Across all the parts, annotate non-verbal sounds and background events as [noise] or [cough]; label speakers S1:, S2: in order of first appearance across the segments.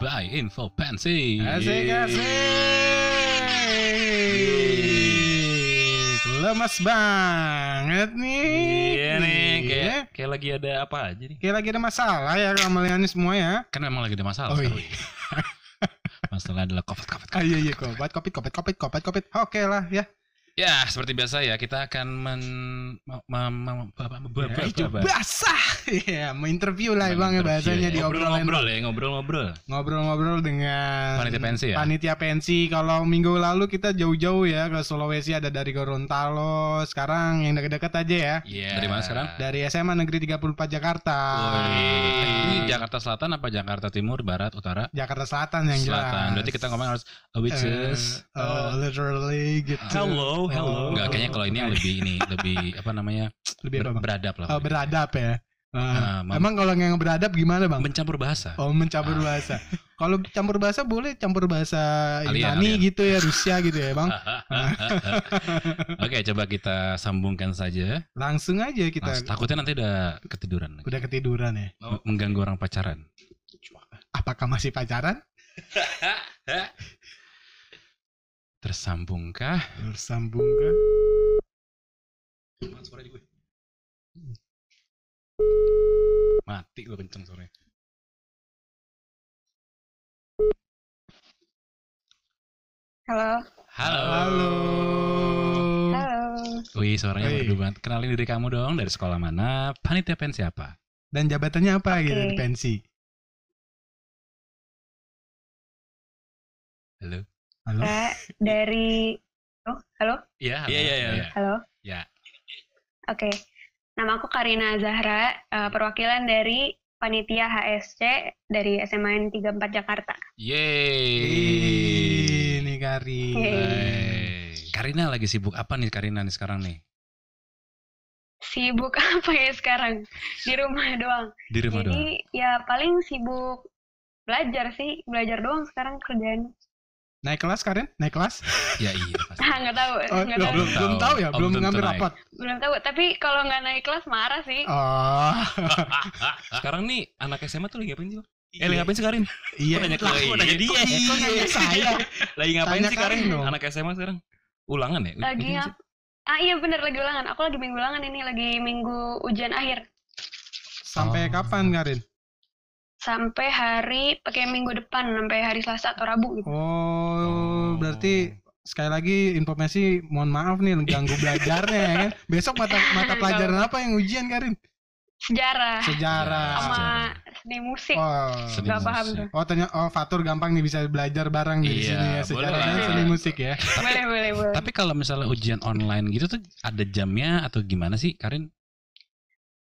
S1: by Info Pensi. Iya
S2: Asik asik. Lemes banget nih.
S1: Iya nih, kayak,
S2: Iya.
S1: kayak lagi ada apa aja nih?
S2: Kayak lagi ada masalah ya Rameliani semua ya.
S1: Kan memang lagi ada masalah.
S2: Oh iya.
S1: sekarang. masalah adalah covid covid.
S2: Ah, iya iya kopat kopit kopit kopit kopit kopit. Oke lah ya.
S1: Ya, seperti biasa ya, kita akan men me- me- me- apa- apa- apa- apa-
S2: Ya, itu
S1: apa-
S2: basah. Iya, mau interview lah bang ya
S1: Interview
S2: bahasanya
S1: ya.
S2: di obrolan
S1: ngobrol-ngobrol ya, ngobrol-ngobrol.
S2: ngobrol-ngobrol dengan
S1: Panitia pensi ya?
S2: Panitia pensi. Kalau minggu lalu kita jauh-jauh ya ke Sulawesi ada dari Gorontalo. Sekarang yang dekat-dekat aja ya.
S1: Iya. Dari mana sekarang?
S2: Dari SMA Negeri 34 Jakarta.
S1: Ini Jakarta Selatan apa Jakarta Timur, Barat, Utara?
S2: Jakarta Selatan yang jelas.
S1: Selatan. Berarti kita ngomong harus uh, which is
S2: Eh, oh, literally gitu.
S3: Hello, hello.
S1: Enggak, kayaknya kalau ini yang lebih ini lebih apa namanya
S2: lebih
S1: ber-
S2: apa, Bang?
S1: beradab lah.
S2: Oh, beradab ya. Eh,
S1: Ah, mam- Ah.
S2: emang kalau yang beradab gimana, Bang?
S1: mencampur
S2: [laughs]
S1: bahasa.
S2: Oh, mencampur bahasa. kalau campur bahasa boleh campur bahasa
S1: Alien,
S2: Yunani
S1: alien. Ah.
S2: gitu ya, Rusia gitu ya, Bang.
S1: [laughs] Oke, coba kita sambungkan saja.
S2: Langsung aja kita
S1: Mas, takutnya nanti udah ketiduran.
S2: udah ketiduran ya.
S1: M- Mengganggu orang pacaran.
S2: Apakah masih pacaran?
S1: Tersambungkah?
S2: Tersambung ke
S1: Mati lo kenceng sore.
S4: Halo,
S1: Halo.
S2: Halo.
S4: halo.
S1: Wih, suaranya
S2: Wih.
S1: merdu banget. Kenalin diri kamu dong dari sekolah mana? Panitia pensi apa?
S2: Dan jabatannya apa gitu di
S4: Oke.
S2: pensi?
S1: Halo.
S2: Halo.
S4: Saya dari Oh, halo,
S1: Iya,
S3: Iya, iya, iya.
S4: halo.
S1: Ya.
S4: Oke. Nama aku Karina Zahra, eh, perwakilan dari panitia HSC dari SMN 34 Jakarta.
S1: Yeay.
S2: Ih, Ini Kari.
S4: Yeay.
S1: Hey. Karina lagi sibuk apa nih Karina nih sekarang nih?
S4: Sibuk [laughs] apa ya sekarang? Di rumah doang.
S1: Di rumah doang.
S4: Jadi ya paling sibuk belajar sih, belajar doang sekarang kerjaan. [laughs]
S2: Naik kelas Karin? Naik kelas?
S1: Ya iya pasti.
S4: Ah, nggak tahu,
S2: Oh,
S4: nggak
S2: lo
S4: tahu.
S2: belum belum tahu ya,
S1: Oh,
S2: belum
S1: belum tentu
S2: ngambil
S1: naik.
S2: rapot.
S4: Belum tahu, tapi kalau nggak naik kelas marah sih.
S2: Oh.
S1: Ah,
S3: Sekarang nih anak SMA tuh lagi ngapain sih? Bang? Eh, lagi ngapain sih Karin?
S2: Iya.
S3: Gua nanya ke
S2: lah,
S3: lo,
S2: gua
S3: iya.
S2: nanya dia.
S3: Iya.
S2: Kok nanya saya?
S3: Lagi ngapain
S2: Tanya
S3: sih Karin?
S2: Karin dong.
S3: Anak SMA sekarang. Ulangan ya? Ujian
S4: Lagi
S3: sih?
S4: ngap- Ah iya bener lagi ulangan. Aku lagi minggu ulangan ini, lagi minggu ujian akhir.
S2: Sampai
S1: Oh.
S2: kapan Karin?
S4: sampai hari pakai minggu depan sampai hari Selasa atau Rabu gitu.
S2: Oh, berarti sekali lagi informasi mohon maaf nih ganggu belajarnya ya kan. Besok mata mata pelajaran apa yang ujian Karin?
S4: Sejarah
S2: Sejarah.
S4: Ah. sama
S1: sejarah.
S4: seni musik.
S2: Oh.
S1: Seni
S4: Nggak paham
S1: musik.
S4: tuh.
S2: Oh ternyata oh Fatur gampang nih bisa belajar bareng
S1: Iya,
S2: di sini ya sejarah
S1: boleh
S2: dan
S1: lah.
S2: seni musik ya.
S4: Boleh, boleh, boleh.
S1: Tapi kalau misalnya ujian online gitu tuh ada jamnya atau gimana sih Karin?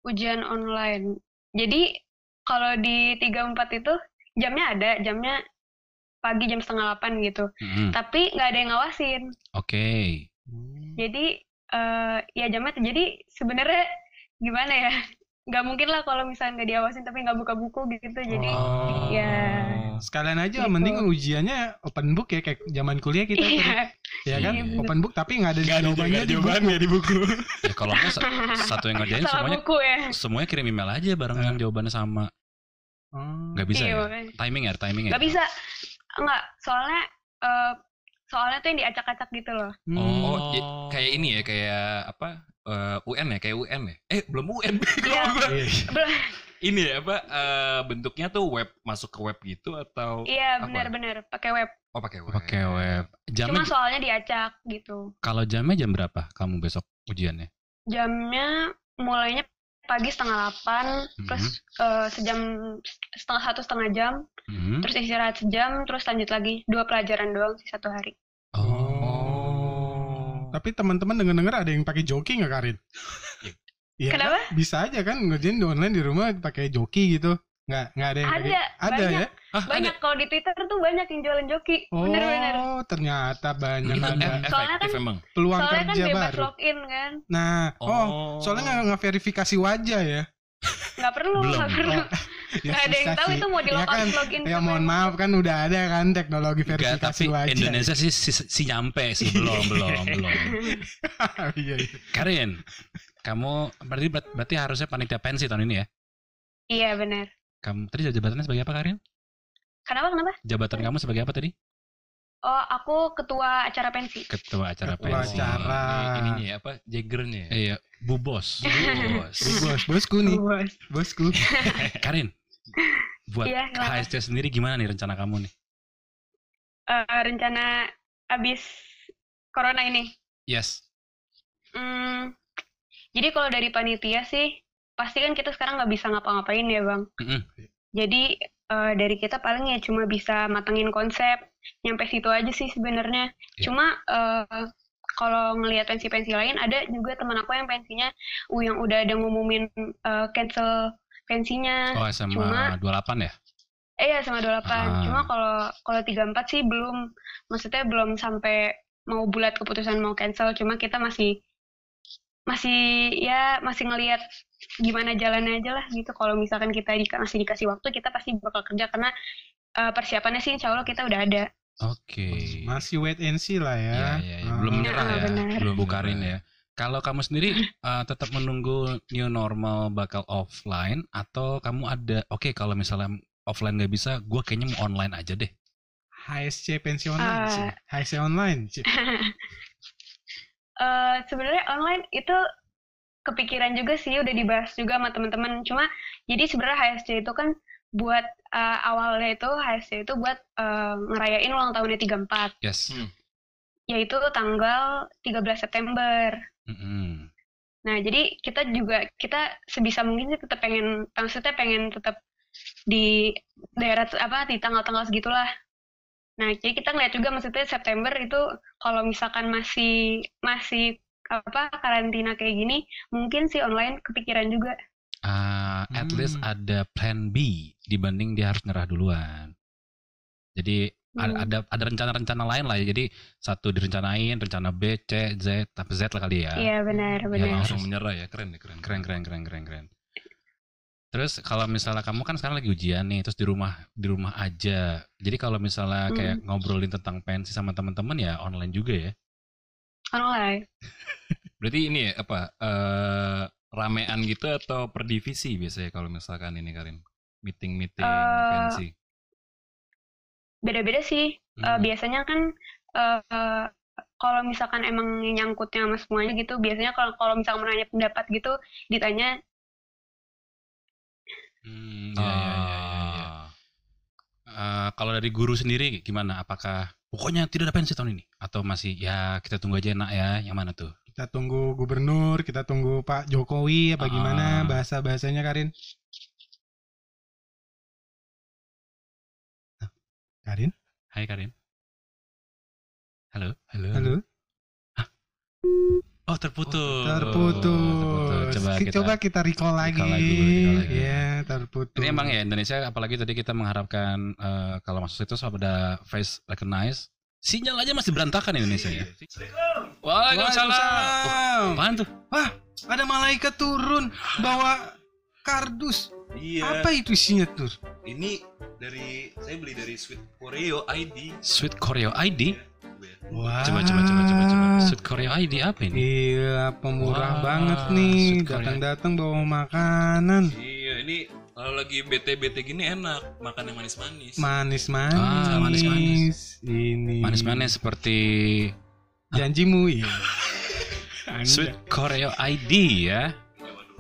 S4: Ujian online. Jadi kalau di 34 itu jamnya ada, jamnya pagi jam setengah 8 gitu.
S1: Mm-mm.
S4: Tapi nggak ada yang ngawasin.
S1: Oke.
S4: Jadi eh ya jamnya tuh- jadi sebenarnya gimana ya? Nggak mungkin lah kalau misalnya nggak diawasin tapi nggak buka buku gitu. Jadi
S2: Oh.
S4: ya
S2: Sekalian aja
S4: Gitu.
S2: mending ujiannya open book ya kayak zaman kuliah kita tuh.
S4: iya.
S2: ya kan?
S1: Iya, bener.
S2: Open book tapi nggak ada jawabannya di buku.
S3: nggak di buku.
S1: Ya, kalau nggak sa- satu yang ngerjain
S4: Salah
S1: semuanya
S4: buku ya.
S1: semuanya kirim email aja
S2: Iya.
S1: barengan jawabannya sama.
S2: Oh.
S1: Nggak bisa
S4: Iya,
S1: ya.
S4: makanya.
S1: Timing ya, timing
S2: Gitu.
S1: ya.
S4: Gak bisa. Enggak, soalnya eh, soalnya tuh yang diacak-acak gitu
S2: [laughs]
S4: loh.
S2: Hmm.
S3: Oh, i- kayak ini ya, kayak apa? eh, UN ya, kayak UN ya. Eh, belum UN. Kenapa gua-
S2: Iya.
S3: [laughs] ini ya apa eh, bentuknya tuh web masuk ke web gitu atau
S4: Iya,
S3: Apa?
S4: benar-benar pakai web.
S3: oh pakai web.
S1: Pakai web. Jamnya
S4: Cuma soalnya diacak gitu.
S1: kalau jamnya jam berapa kamu besok ujiannya?
S4: Jamnya mulainya pagi setengah 8,
S2: Mhm.
S4: terus eh, sejam setengah satu setengah jam,
S2: Hmm?
S1: Mm-mm.
S4: terus istirahat sejam, terus lanjut lagi dua pelajaran doang sih satu hari.
S2: Oh. Tapi teman-teman denger-denger ada yang pakai joki nggak Karin? Iya. kan?
S4: Kenapa?
S2: Bisa aja kan ngerjain di online di rumah pakai joki gitu. Nggak nggak ada yang pakai.
S4: Ada,
S2: Ada
S4: banyak,
S2: ya?
S3: Ah, ada.
S4: banyak kalau di Twitter tuh banyak yang jualan joki.
S2: Oh,
S4: Bener-bener.
S2: ternyata banyak
S3: Itu
S2: ada
S3: e-
S4: Soalnya
S3: efektif
S4: kan-
S3: emang.
S2: peluang
S4: Soalnya kan
S2: kerja
S4: bebas
S2: baru.
S4: login kan,
S2: Nah, oh, soalnya nggak nggak verifikasi wajah ya.
S4: nggak perlu,
S3: Belum.
S4: nggak perlu,
S2: [laughs] Ya,
S4: nggak ada yang
S2: susah
S4: tahu
S2: sih.
S4: itu mau di
S2: Ya kan,
S4: login.
S2: Ya
S4: ke
S2: mohon
S4: mana.
S2: maaf kan udah ada kan teknologi
S1: Enggak,
S2: verifikasi
S1: tapi
S2: wajah. ya? [laughs]
S1: Indonesia sih si, si nyampe sih [laughs] belum belum belum.
S2: iya, iya.
S1: Karin, kamu berarti berarti harusnya panitia pensi tahun ini ya?
S4: Iya benar.
S1: Kamu tadi jabatannya sebagai apa Karin?
S4: Kenapa kenapa?
S1: Jabatan kamu sebagai apa tadi?
S4: Oh, aku ketua acara pensi.
S1: Ketua acara
S2: Ketua
S1: pensi.
S2: acara.
S3: Oh. Ini- ininya ya apa jagernya
S2: [laughs]
S3: ya
S1: Iya, Bu Bos.
S3: Bos.
S2: Bos, bosku nih, bosku.
S1: Eh, Karin, buat
S4: Iya, kenapa?
S1: HSC sendiri gimana nih rencana kamu nih?
S4: Eh, rencana abis corona ini.
S1: Yes.
S4: Hmm, jadi kalau dari panitia sih, pasti kan kita sekarang nggak bisa ngapa-ngapain ya bang.
S1: Mm-mm.
S4: Jadi eh, dari kita paling ya cuma bisa matengin konsep, nyampe situ aja sih sebenarnya.
S1: Iya.
S4: Cuma eh, kalau ngelihat pensi-pensi lain, ada juga teman aku yang pensinya, uh, yang udah ada ngumumin eh, cancel pensinya.
S1: Oh, sama
S4: Eh, Cuma-
S1: 28 ya?
S4: Eh ya sama 28.
S1: Ah.
S4: Cuma kalau kalau 34 sih belum, maksudnya belum sampai mau bulat keputusan mau cancel. Cuma kita masih masih ya masih ngelihat gimana jalannya aja lah gitu. Kalau misalkan kita di, masih dikasih waktu, kita pasti bakal kerja karena eh, persiapannya sih Insya Allah kita udah ada.
S1: Oke.
S2: Oh, Masih wait and see lah ya.
S1: Iya, iya, iya.
S2: Ah.
S1: Belum menyerah
S4: Iya,
S1: ya,
S4: benar.
S1: belum
S3: Bu
S1: bukarin
S3: Karin
S1: ya. Kalau kamu sendiri eh, tetap menunggu new normal bakal offline atau kamu ada oke kalau misalnya offline nggak bisa, gua kayaknya mau online aja deh.
S2: HSC pensi online,
S4: Ah.
S2: Ci. HSC online. Ci.
S4: Eh, sebenarnya online itu kepikiran juga sih udah dibahas juga sama teman-teman cuma jadi sebenarnya HSC itu kan buat eh, awalnya itu HSC itu buat eh, ngerayain ulang tahunnya 34
S1: Yes.
S3: Hmm.
S4: yaitu tanggal 13 September.
S1: Mm-mm.
S4: Nah, jadi kita juga kita sebisa mungkin sih tetap pengen maksudnya pengen tetap di daerah apa di tanggal-tanggal segitulah. Nah, jadi kita ngeliat juga maksudnya September itu kalau misalkan masih masih apa karantina kayak gini, mungkin sih online kepikiran juga.
S1: Ah, at least
S2: Hmm.
S1: ada plan B dibanding dia harus nyerah duluan. Jadi a-
S4: Hmm.
S1: ada ada rencana-rencana lain lah. ya. Jadi satu direncanain, rencana B, C, Z, tapi Z lah kali ya.
S4: Iya, benar,
S1: Ya,
S4: benar.
S3: langsung menyerah ya keren ya keren
S1: Keren, keren, keren, keren, keren. Terus kalau misalnya kamu kan sekarang lagi ujian nih, terus di rumah di rumah aja. Jadi kalau misalnya
S2: Hmm.
S1: kayak ngobrolin tentang pensi sama teman-teman ya online juga ya.
S4: Online.
S3: berarti ini ya apa eh ramean gitu atau per divisi biasanya kalau misalkan ini Karin meeting meeting
S4: Eh,
S3: pensi
S4: Beda-beda sih. Eh,
S1: Hmm.
S4: biasanya kan eh, eh, kalau misalkan emang nyangkutnya sama semuanya gitu, biasanya kalau kalau misalkan menanya pendapat gitu, ditanya
S1: Hmm, ya, ya, ya, ya, ya. Eh, kalau dari guru sendiri gimana? Apakah pokoknya tidak ada pensi tahun ini? Atau masih ya kita tunggu aja enak ya? Yang mana tuh?
S2: Kita tunggu gubernur, kita tunggu Pak Jokowi apa
S1: Ah.
S2: gimana bahasa bahasanya Karin? Hah, Karin,
S1: Hai Karin. Halo. Halo.
S2: halo.
S1: Oh terputus.
S2: Terputus.
S1: Coba
S2: Ki-
S1: kita.
S2: Coba kita recall lagi.
S1: recall lagi, recall lagi.
S2: Iya, terputus.
S1: Ini emang ya Indonesia apalagi tadi kita mengharapkan eh, kalau masuk situs ada face recognize sinyal aja masih berantakan Indonesia ya. Waalaikumsalam.
S2: Waalaikumsalam.
S1: Apaan tuh?
S2: Ada malaikat turun bawa kardus.
S5: Iya,
S2: Apa itu isinya Nur?
S5: ini dari saya beli dari Sweet Koreo ID.
S1: Sweet Koreo ID.
S2: Wah.
S1: Coba coba coba coba coba.
S5: Ah.
S1: Sweet Koreo ID apa ini?
S2: Gila, pemurah
S1: Wah,
S2: banget nih.
S1: Sweet Korea.
S2: Datang-datang bawa makanan
S5: Iya, ini kalau lagi bete-bete gini enak, makan yang manis-manis.
S2: manis-manis.
S1: Ah, manis-manis.
S2: Ini.
S1: Manis-manis seperti
S2: Janjimu ya.
S1: [laughs] Sweet Koreo ID ya.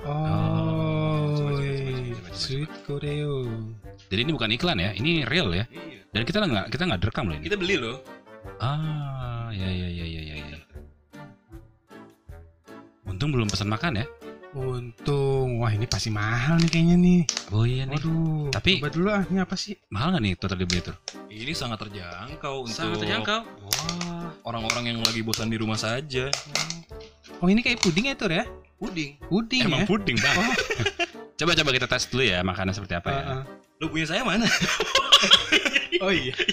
S2: Oh.
S1: Coba, coba, coba, coba, coba, coba.
S2: Sweet Koreo.
S1: Jadi ini bukan iklan ya, ini real ya.
S5: Iya.
S1: Dan kita nggak kita nggak direkam loh ini.
S5: Kita beli loh.
S1: Ah, ya ya ya ya ya. ya. Untung belum pesan makan ya.
S2: Untung. Wah, ini pasti mahal nih kayaknya nih.
S1: Oh iya nih.
S2: Waduh.
S1: Tapi-
S2: coba dulu ah, ini apa sih?
S1: Mahal nggak nih total dibeli tuh?
S3: ini sangat terjangkau
S5: Sangat
S3: untuk
S5: terjangkau.
S1: Wah.
S3: orang-orang yang lagi bosan di rumah saja
S2: Oh, ini kayak puding ya, Tur ya?
S5: Puding.
S2: Puding
S1: Emang
S2: ya.
S1: puding bang. [laughs] coba coba kita tes dulu ya makanan seperti apa ya.
S2: Heeh.
S5: Lo punya saya mana?
S2: Oh iya.
S5: [laughs]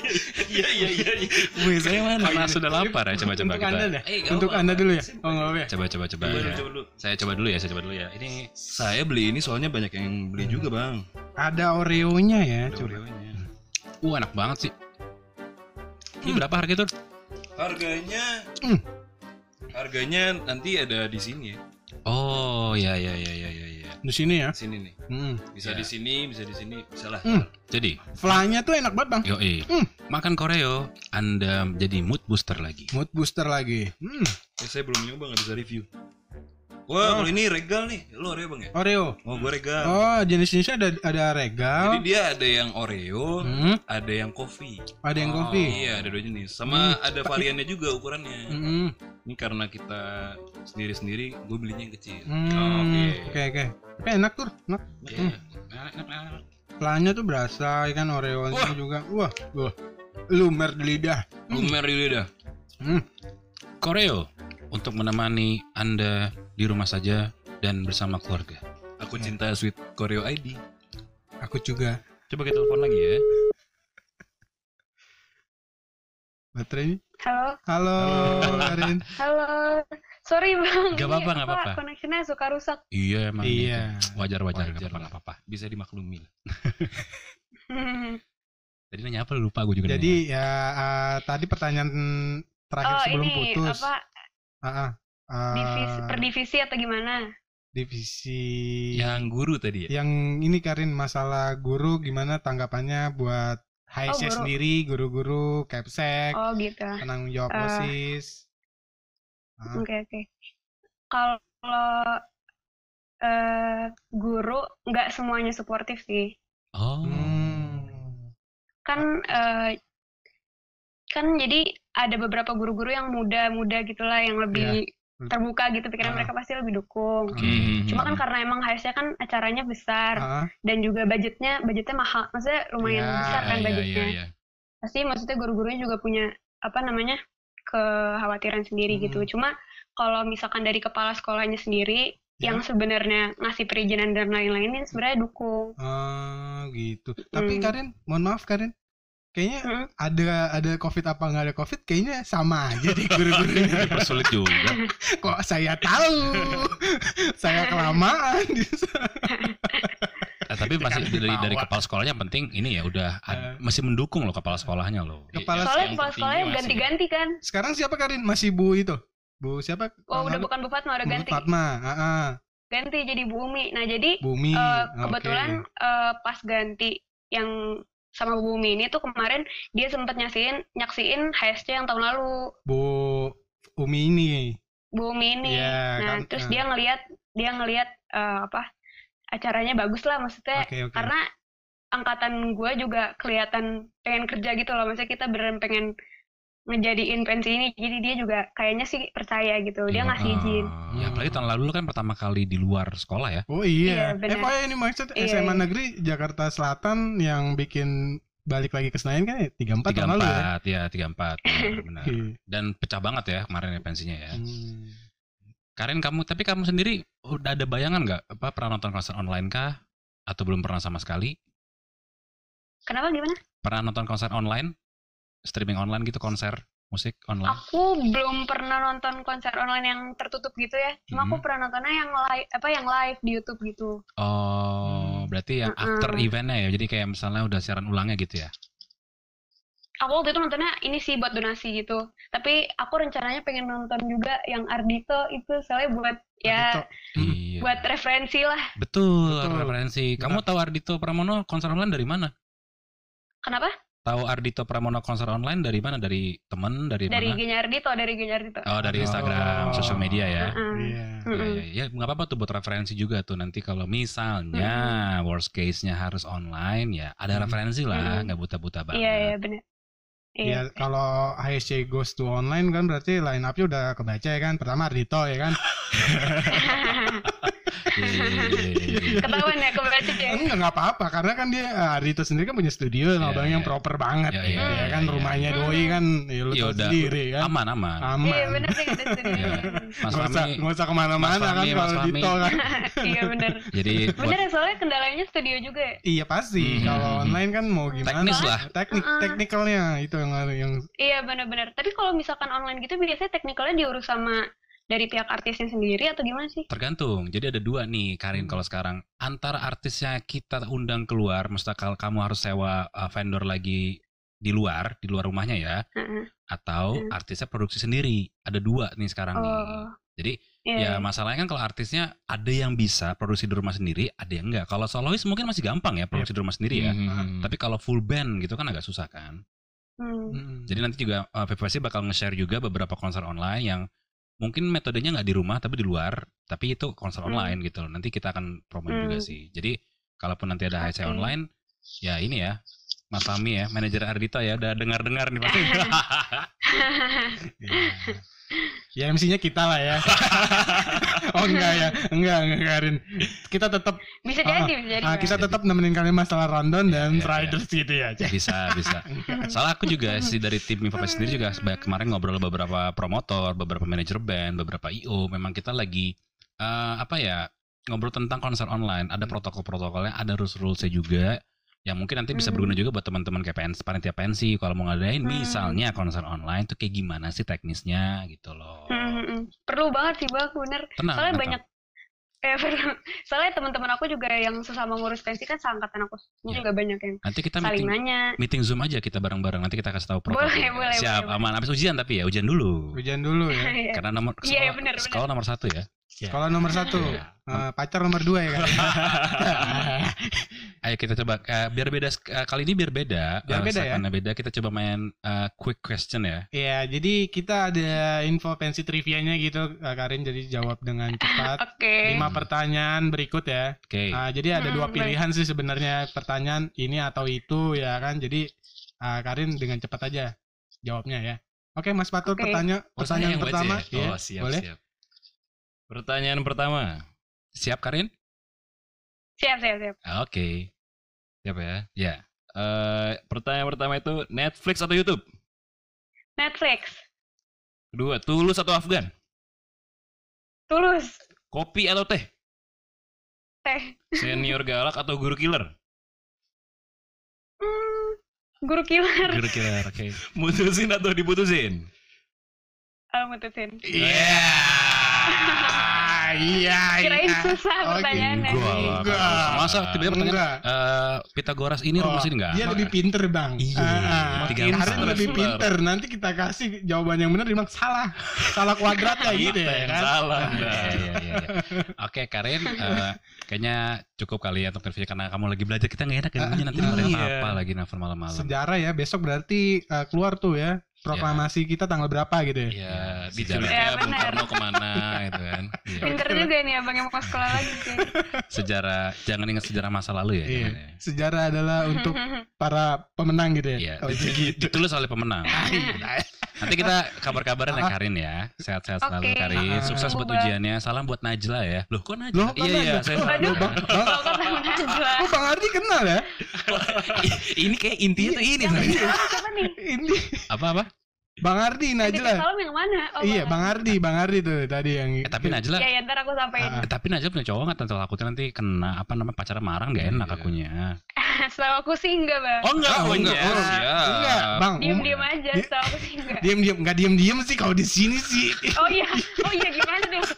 S5: Iya, iya, iya. iya. gitu.
S2: Wih, saya mana?
S1: Karena sudah lapar ya coba coba kita.
S2: Kan Untuk Anda dah.
S5: Eh, nggak
S2: Untuk
S5: apa-apa.
S2: Anda dulu ya.
S5: Saya
S2: Oh,
S5: bukan.
S2: enggak apa-apa ya.
S1: Coba coba coba.
S5: Coba
S1: ya.
S5: dulu, coba dulu.
S1: Saya coba dulu ya, saya coba dulu ya. Ini
S3: saya beli ini soalnya banyak yang beli juga bang
S2: Ada Oreo-nya ya,
S3: Ada
S2: coba.
S3: Oreonya.
S1: uh enak banget sih. Ini berapa harga tuh?
S5: Harganya
S2: Hmm.
S5: Harganya nanti ada di sini ya.
S1: iya, Oh ya ya ya ya ya ya.
S2: di sini ya.
S5: sini nih
S2: Hmm.
S5: bisa
S3: Ya.
S5: di sini bisa di sini bisa lah
S2: Hmm.
S1: Jadi,
S2: Flanya tuh enak banget bang.
S1: yoi.
S2: Hmm.
S1: Makan koreo, Anda jadi mood booster lagi.
S2: Mood booster lagi. Hmm.
S5: Ya, saya belum nyoba nggak bisa review wah kalau ini regal nih lo Oreo bang ya
S2: Oreo.
S5: oh gue regal
S2: Oh jenis-jenisnya ada ada
S5: jadi
S2: regal.
S5: dia ada yang Oreo
S2: Oh. Hmm.
S5: ada yang kopi
S2: Ada yang
S1: Oh.
S2: kopi.
S5: iya ada dua jenis sama ada variannya juga ukurannya
S2: Hmm.
S5: ini karena kita sendiri sendiri gue belinya yang kecil
S2: Hmm. Oke oke. Tapi enak tuh. Enak. Hmm.
S1: Ya, enak, enak, enak.
S2: Flanya tuh berasa ikan Oreonya juga. Wah. Wah. Lumer di lidah.
S5: lumer di lidah
S2: Hmm.
S1: Koreo untuk menemani Anda di rumah saja dan bersama keluarga.
S5: aku cinta sweet Koreo ID
S2: Aku juga.
S3: Coba kita telepon lagi ya.
S2: Baterai.
S4: Halo,
S2: Halo, Karin.
S4: halo. Sorry [laughs] bang.
S1: Gak
S4: ini
S1: apa-apa, gak apa-apa.
S4: Koneksinya suka rusak. [laughs]
S1: Iya emang.
S2: Iya.
S1: itu. Wajar-wajar nggak
S3: Wajar
S1: apa-apa,
S3: lah.
S1: nggak apa-apa.
S3: Bisa dimaklumi lah.
S4: Hmm.
S1: Tadi nanya apa lupa gue juga. nanya.
S2: Jadi ya eh, tadi pertanyaan terakhir
S4: Oh
S2: sebelum
S4: ini
S2: putus.
S4: apa
S2: Ah, ah. Ah,
S4: divisi per divisi atau gimana?
S2: divisi
S3: Yang guru tadi ya.
S2: yang ini Karin masalah guru gimana tanggapannya buat HSC
S4: Oh, guru.
S2: sendiri guru-guru Capsec
S4: Oh gitu.
S2: penanggung jawab
S4: Eh.
S2: OSIS Ah.
S4: Oke oke. Kalau eh guru nggak semuanya suportif sih.
S1: Oh.
S2: Hmm.
S4: kan eh, kan jadi ada beberapa guru-guru yang muda-muda gitulah yang lebih
S2: Hmm.
S4: terbuka gitu pikiran
S2: Ah.
S4: mereka pasti lebih dukung.
S2: Oke.
S4: Cuma kan karena emang harusnya kan acaranya besar
S2: Ah,
S4: dan juga budgetnya budgetnya mahal, maksudnya lumayan
S2: Ya,
S4: besar kan
S1: Iya,
S3: Ya, ya,
S4: budgetnya.
S3: ya, ya.
S4: Pasti maksudnya guru-gurunya juga punya apa namanya kekhawatiran sendiri gitu.
S2: Hmm.
S4: Cuma kalau misalkan dari kepala sekolahnya sendiri
S2: Ya.
S4: yang sebenarnya ngasih perizinan dan lain-lain ini sebenarnya dukung.
S2: ah, gitu. Tapi
S4: Hmm.
S2: Karin, mohon maaf Karin. Kayaknya
S4: Hmm.
S2: ada ada COVID apa nggak ada COVID? Kayaknya sama aja di guru-guru.
S1: [laughs] Dipersulit juga.
S2: Kok saya tahu?
S4: [laughs]
S2: saya kelamaan di sana.
S1: Eh, tapi masih
S2: Dikasih
S1: dari dari
S2: tawa.
S1: kepala sekolahnya yang penting ini ya udah ad- masih mendukung loh kepala sekolahnya loh.
S2: Iya. Kepala
S4: Soalnya
S3: yang
S4: kepala
S3: tertinggi
S4: sekolahnya
S3: masih-
S4: ganti-ganti kan.
S2: Sekarang siapa Karin? Masih Bu itu? Bu siapa?
S4: Oh, udah
S2: Lalu-
S4: bukan Bu Fatma, udah
S2: Bu
S4: ganti.
S2: Fatma, ah, ah.
S4: ganti jadi Bumi. Nah, jadi
S2: Bumi.
S4: eh,
S2: oke.
S4: kebetulan eh, pas ganti yang sama Bu Bumi ini tuh kemarin dia sempat nyaksiin nyaksiin HSC yang tahun lalu
S2: Bu Umi ini.
S4: Bu Bumi ini.
S2: Iya,
S4: nah,
S2: kan-
S4: terus
S2: ah.
S4: dia ngelihat dia ngelihat eh, apa acaranya bagus lah maksudnya
S2: Oke, oke.
S4: Eh, karena angkatan gue juga kelihatan pengen kerja gitu loh maksudnya kita beneran pengen ngejadiin pensi ini jadi dia juga kayaknya sih percaya gitu dia
S1: Iya,
S4: ngasih izin
S2: eh.
S1: ah. Ya, apalagi tahun lalu kan pertama kali di luar sekolah ya.
S2: Oh iya.
S4: Iya, benar.
S2: FYI ini maksud
S4: Iya,
S2: SMA
S4: iya.
S2: Negeri Jakarta Selatan yang bikin balik lagi ke Senayan kan ya 34 tahun lalu ya.
S1: 34 ya, 34.
S4: [laughs]
S1: Benar, benar.
S2: Oke.
S1: Dan pecah banget ya kemarin ya pensinya ya.
S2: Hmm.
S1: Karin kamu tapi kamu sendiri udah ada bayangan nggak apa pernah nonton konser online kah atau belum pernah sama sekali
S4: kenapa gimana
S1: pernah nonton konser online streaming online gitu konser musik online
S4: Aku belum pernah nonton konser online yang tertutup gitu ya. Cuma
S1: Mhm.
S4: aku pernah nontonnya yang live apa yang live di YouTube gitu.
S1: oh
S2: Hmm.
S1: berarti yang after eventnya ya jadi kayak misalnya udah siaran ulangnya gitu ya
S4: Aku waktu itu nontonnya ini sih buat donasi gitu. Tapi aku rencananya pengen nonton juga yang Ardito itu soalnya buat
S2: Ardhito.
S4: ya
S2: Hmm.
S1: iya
S4: buat referensi lah.
S1: betul,
S2: Betul.
S1: referensi kamu tahu Ardito Pramono konser online dari mana
S4: Kenapa?
S1: tahu Ardito Pramono konser online dari mana dari temen dari,
S4: Dari
S1: mana
S4: Genya Ardito, dari Genya Ardito.
S1: oh dari Instagram
S2: Oh.
S1: sosial media ya
S4: Heeh.
S2: Iya.
S1: Ya,
S4: Mm-mm.
S1: ya, ya, nggak apa-apa tuh buat referensi juga tuh nanti kalau misalnya worst case-nya harus online ya ada
S2: Mm.
S1: referensi lah
S4: Mm.
S1: nggak buta-buta banget.
S4: Iya iya benar. Iya.
S2: Iya, kalau HSC goes to online kan berarti line up-nya udah kebaca ya kan. Pertama Ardito ya kan.
S1: Iya, iya, iya, iya, iya.
S4: [laughs] Ketahuan ya kebaca ya.
S2: Enggak enggak apa-apa karena kan dia eh, Arito sendiri kan punya studio
S1: Iya,
S2: abang yang
S1: iya.
S2: proper banget
S1: Iya,
S2: ya,
S1: iya,
S2: ya
S1: iya,
S2: kan
S1: iya.
S2: rumahnya doi kan ya lu
S1: Ya
S2: tahu
S1: udah,
S2: sendiri
S4: [laughs]
S2: kan
S1: Aman aman.
S2: aman
S4: Iya benar sih ada studio.
S1: Iya. Mas
S2: nggak usah
S1: Fahmi,
S2: nggak usah kemana-mana
S1: Mas
S2: kan
S1: Fahmi, Mas
S2: kalau
S1: Fahmi.
S2: Dito kan
S4: Iya benar.
S1: jadi
S4: Benar
S1: buat
S4: ya soalnya kendalanya studio juga ya.
S2: iya pasti
S1: Hmm.
S2: kalau online kan mau gimana
S1: teknis lah.
S2: teknik
S4: Heeh.
S2: teknikalnya itu yang yang
S4: Iya benar-benar. Tapi kalau misalkan online gitu biasanya teknikalnya diurus sama dari pihak artisnya sendiri atau gimana sih?
S1: Tergantung. Jadi ada dua nih Karin kalau sekarang antara artisnya kita undang keluar, mustakal kamu harus sewa uh, vendor lagi di luar, di luar rumahnya ya,
S4: Heeh.
S1: atau
S4: Mm.
S1: artisnya produksi sendiri. Ada dua nih sekarang nih.
S4: Oh,
S1: Hmm. Jadi Ya masalahnya kan kalau artisnya ada yang bisa produksi di rumah sendiri, ada yang enggak. Kalau solois mungkin masih gampang ya produksi di rumah sendiri ya.
S3: Hmm.
S5: Iya.
S1: Tapi kalau full band gitu kan agak susah kan.
S4: Hmm.
S1: Jadi nanti juga uh, PPSI bakal nge-share juga beberapa konser online yang mungkin metodenya nggak di rumah tapi di luar, tapi itu konser
S4: Hmm.
S1: online gitu. loh. Nanti kita akan promoin juga
S4: Hmm.
S1: sih. Jadi kalaupun nanti ada HC
S4: Oke.
S1: online, ya ini ya Mas Fahmi ya, manajer Ardita ya, udah dengar-dengar nih pasti.
S4: [laughs]
S2: Iya. Ya MC-nya kita lah
S1: [laughs]
S2: ya. oh enggak ya, enggak enggak Karin. Kita tetap
S4: bisa
S2: Ah,
S4: jadi bisa jadi
S2: ah,
S4: Bang.
S2: kita tetap nemenin kalian masalah rundown dan
S1: Iya, iya,
S2: riders gitu ya. Cek.
S1: bisa bisa soalnya aku juga sih dari tim Infopes sendiri juga seba- kemarin ngobrol beberapa promotor beberapa manajer band beberapa io memang kita lagi eh, apa ya ngobrol tentang konser online ada protokol-protokolnya ada rules rulesnya juga yang mungkin nanti bisa
S4: Hmm.
S1: berguna juga buat teman-teman kayak PNS, panitia pensi kalau mau ngadain
S4: Hmm.
S1: misalnya konser online tuh kayak gimana sih teknisnya gitu loh
S4: Hmm, hmm, hmm. perlu banget sih bang bener
S1: tenang
S4: soalnya
S1: tenang.
S4: banyak [laughs] eh, perlu. soalnya teman-teman aku juga yang sesama ngurus pensi kan seangkatan aku
S1: Iya.
S4: juga banyak yang
S1: nanti kita
S4: saling
S1: meeting
S4: nanya
S1: meeting zoom aja kita bareng-bareng nanti kita kasih tahu protokol
S4: Boleh, boleh,
S1: siap
S4: boleh,
S1: aman habis ujian tapi ya ujian dulu
S2: Hujan dulu ya.
S4: [laughs] Iya.
S1: karena nomor
S4: Iya,
S1: sekolah,
S4: bener, bener.
S1: sekolah nomor satu ya
S2: Sekolah nomor satu,
S1: Iya. [laughs]
S2: eh, pacar nomor dua ya
S3: [laughs]
S2: kan.
S1: Ayo kita coba eh, biar beda sek- eh, kali ini biar beda.
S2: Biar
S1: eh,
S2: beda ya.
S1: seakan-akan beda kita coba main eh, quick question ya.
S2: Iya, jadi kita ada info pensi trivianya gitu, eh, Karin. Jadi jawab dengan cepat.
S4: [laughs] oke
S2: Lima pertanyaan berikut ya.
S1: Oke.
S2: Ah, jadi ada
S4: Hmm,
S2: dua
S4: baik.
S2: pilihan sih sebenarnya pertanyaan ini atau itu ya kan. Jadi ah, Karin dengan cepat aja jawabnya ya. Oke, Mas Patur
S4: Oke.
S2: pertanya-
S3: Oh, saya
S2: pertanyaan
S3: yang baca
S2: pertama.
S3: ya?
S2: Iya.
S3: Oh, siap,
S2: boleh.
S3: siap. Pertanyaan pertama.
S1: Siap Karin?
S4: siap siap siap
S1: Ah, Oke.
S3: Siap ya.
S1: Ya.
S3: Eh, pertanyaan pertama itu Netflix atau YouTube?
S4: Netflix
S3: Kedua, Tulus atau Afgan?
S4: tulus Eh,
S3: Kopi atau teh?
S4: teh
S3: Senior galak atau guru
S4: [laughs]
S3: killer?
S4: Hmm, guru killer
S1: Guru killer. Oke.
S3: Mutusin atau diputusin?
S4: Al mutusin
S3: Iya.
S4: [laughs]
S2: Ah, iya.
S4: kirain
S2: iya.
S4: susah
S2: Oke.
S4: pertanyaannya
S2: gitu.
S1: Gua lah.
S2: Enggak.
S1: Masa tiba-tiba pertanyaan
S2: Enggak.
S1: eh, Pitagoras ini
S2: Oh,
S1: rumus ini enggak?
S2: Dia lebih pinter bang.
S1: Iya. Tiga
S2: Karin
S1: besar.
S2: lebih
S3: Besar.
S2: pinter. Nanti kita kasih jawaban yang benar. Dia bilang salah, salah kuadrat lah gitu
S3: Kita
S2: ya
S3: yang
S2: kan.
S3: salah.
S1: Iya,
S3: Mbak.
S1: iya, iya, iya. Oke Karin, eh, kayaknya cukup kali ya untuk interviewnya karena kamu lagi belajar kita nggak enak ya bunyinya nanti
S2: Iya.
S1: mereka apa lagi nelfon malam-malam.
S2: Sejarah ya. Besok berarti eh, keluar tuh ya proklamasi kita tanggal berapa gitu ya.
S3: Iya,
S1: Iya,
S3: diculiknya
S4: sejarah.
S3: Bung
S4: Iya,
S3: Karno kemana gitu kan. Iya.
S4: pinter juga nih abang yang mau ke sekolah lagi sih.
S1: Sejarah, jangan ingat sejarah masa lalu ya.
S2: Iya.
S1: jangan ya.
S2: Sejarah adalah
S4: [laughs]
S2: untuk para pemenang gitu ya.
S1: Iya,
S2: Oh,
S1: di-
S2: gitu.
S1: ditulis oleh pemenang. Nanti kita kabar-kabaran ya Karin ya. Sehat-sehat selalu
S4: Oke.
S1: Karin. Sukses buat
S4: Semoga.
S1: ujiannya. Salam buat Najla ya. Loh kok Najla?
S2: Iya. Loh, kok
S1: iya iya,
S2: Najla?
S1: saya
S4: Waduh.
S1: salah.
S2: Bang, bang,
S4: Kalau kata Najla.
S2: oh, Bang Ardi kenal ya?
S3: ini kayak intinya tuh
S5: Iya.
S3: ini.
S4: Yang salah siapa nih?
S2: Ini
S1: Apa apa?
S2: Bang Ardi
S4: Tadi
S2: Najla.
S4: salam yang mana? Oh,
S2: iya, Bang Ardi, Bang Ardi tuh tadi yang
S1: Eh, tapi Najla
S4: Ya, ya ntar aku sampein.
S1: eh, tapi Najla punya cowok nggak tentu takutnya nanti kena apa namanya pacaran marah nggak enak
S3: Iya.
S1: akunya.
S4: [laughs] Setahu aku sih enggak, Bang.
S1: Oh enggak,
S2: Oh,
S1: oh, enggak.
S2: enggak.
S1: Oh,
S3: Siap.
S2: Enggak, Bang. um,
S4: Diam-diam aja,
S2: Dia-
S4: setahu aku sih enggak.
S2: Diam-diam, enggak diam-diam sih kalau di sini sih.
S4: Oh iya, oh iya gimana tuh?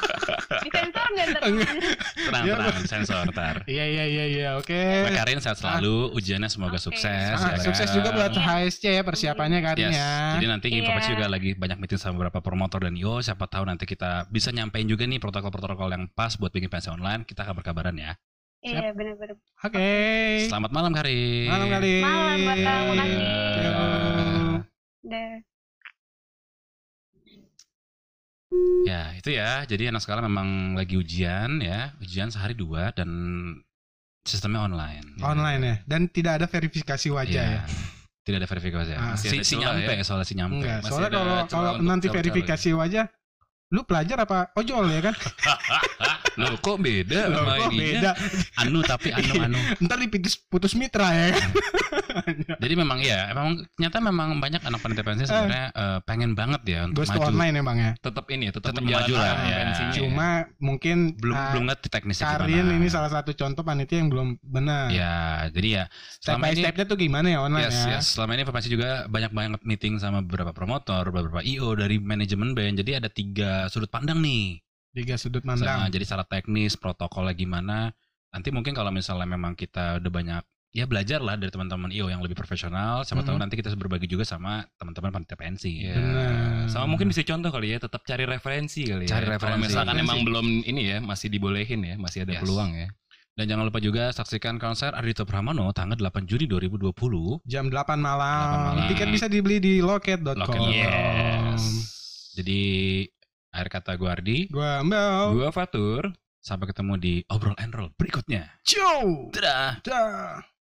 S4: Disensor nggak ntar?
S2: Enggak.
S1: Tenang,
S2: Iya,
S1: tenang,
S2: [laughs]
S1: sensor ntar.
S2: Iya iya iya iya oke.
S1: Mbak Karin sehat selalu, ujiannya semoga
S4: Oke.
S1: sukses.
S2: Ah,
S1: ya kan?
S2: sukses juga buat HSC ya persiapannya Karin
S1: Yes.
S2: ya.
S1: Jadi nanti
S4: Iya.
S1: Infopes juga lagi banyak meeting sama beberapa promotor dan yo siapa tahu nanti kita bisa nyampein juga nih protokol-protokol yang pas buat bikin pensi online. Kita kabar-kabaran ya.
S4: Iya benar-benar.
S2: Oke.
S1: Selamat malam Karin.
S2: Malam kali.
S4: Malam, Mbak Kang. Makasih.
S2: Yo.
S4: Dah.
S1: Ya itu ya. Jadi anak sekolah memang lagi ujian ya, ujian sehari dua dan sistemnya online.
S2: Online ya. Dan tidak ada verifikasi
S1: Iya.
S2: wajah ya.
S1: Tidak ada verifikasi.
S2: Ah.
S1: si,
S3: Masih ada
S1: si
S3: celah
S1: nyampe
S3: ya.
S1: soalnya si nyampe.
S2: Enggak,
S3: Masih
S2: soalnya
S3: ada
S2: kalau
S3: celah
S2: kalau
S3: untuk
S2: nanti
S3: cewek-cewek.
S2: verifikasi wajah lu pelajar apa ojol ya kan?
S1: Loh, kok beda
S2: Loh,
S1: sama
S2: kok
S1: ininya?
S2: beda. Iya.
S1: Anu tapi anu anu.
S2: Ntar diputus putus mitra ya kan?
S1: Jadi memang ya, memang ternyata memang banyak anak panitia pensi sebenarnya eh, pengen banget ya untuk
S2: Ghost to
S1: maju.
S2: online ya Bang ya.
S3: Tetap ini, tetap
S1: Tetap maju lah,
S3: menjalankan
S1: ya.
S3: pensinya.
S2: Cuma mungkin
S1: Belum
S2: ah,
S1: belum ngerti teknisnya
S2: Karin
S1: gimana.
S2: ini salah satu contoh panitia yang belum benar.
S1: Ya, jadi ya
S2: Step
S1: selama
S2: by
S1: ini
S2: stepnya tuh gimana ya online
S1: yes,
S2: ya?
S1: yes. selama ini informasi juga banyak banget meeting sama beberapa promotor, beberapa IO dari manajemen band. Jadi ada tiga sudut pandang nih.
S2: Tiga sudut
S1: Nah,
S2: pandang.
S1: jadi secara teknis protokolnya gimana. Nanti mungkin kalau misalnya memang kita udah banyak ya belajarlah dari teman-teman IO yang lebih profesional. Siapa tahu
S2: Mhm.
S1: nanti kita berbagi juga sama teman-teman panitia pensi.
S3: Iya.
S2: Benar.
S3: Sama mungkin bisa contoh kali ya, tetap cari referensi kali ya.
S1: Cari
S3: Kalau
S1: referensi.
S3: misalkan
S2: Referensi.
S3: emang belum ini ya, masih dibolehin ya, masih ada
S1: Yes.
S3: peluang ya.
S1: Dan jangan lupa juga saksikan konser Ardhito Pramono tanggal 8 Juni 2020.
S2: Jam 8
S1: 8 malam.
S2: malam. Tiket bisa dibeli di loket.com.
S1: Loket.
S3: Yes.
S1: Jadi akhir kata gue Ardi,
S2: Gua Mbak.
S3: Gua Fatur.
S1: sampai ketemu di obrol and roll berikutnya.
S2: Ciao.
S1: Dadah.
S2: Dah.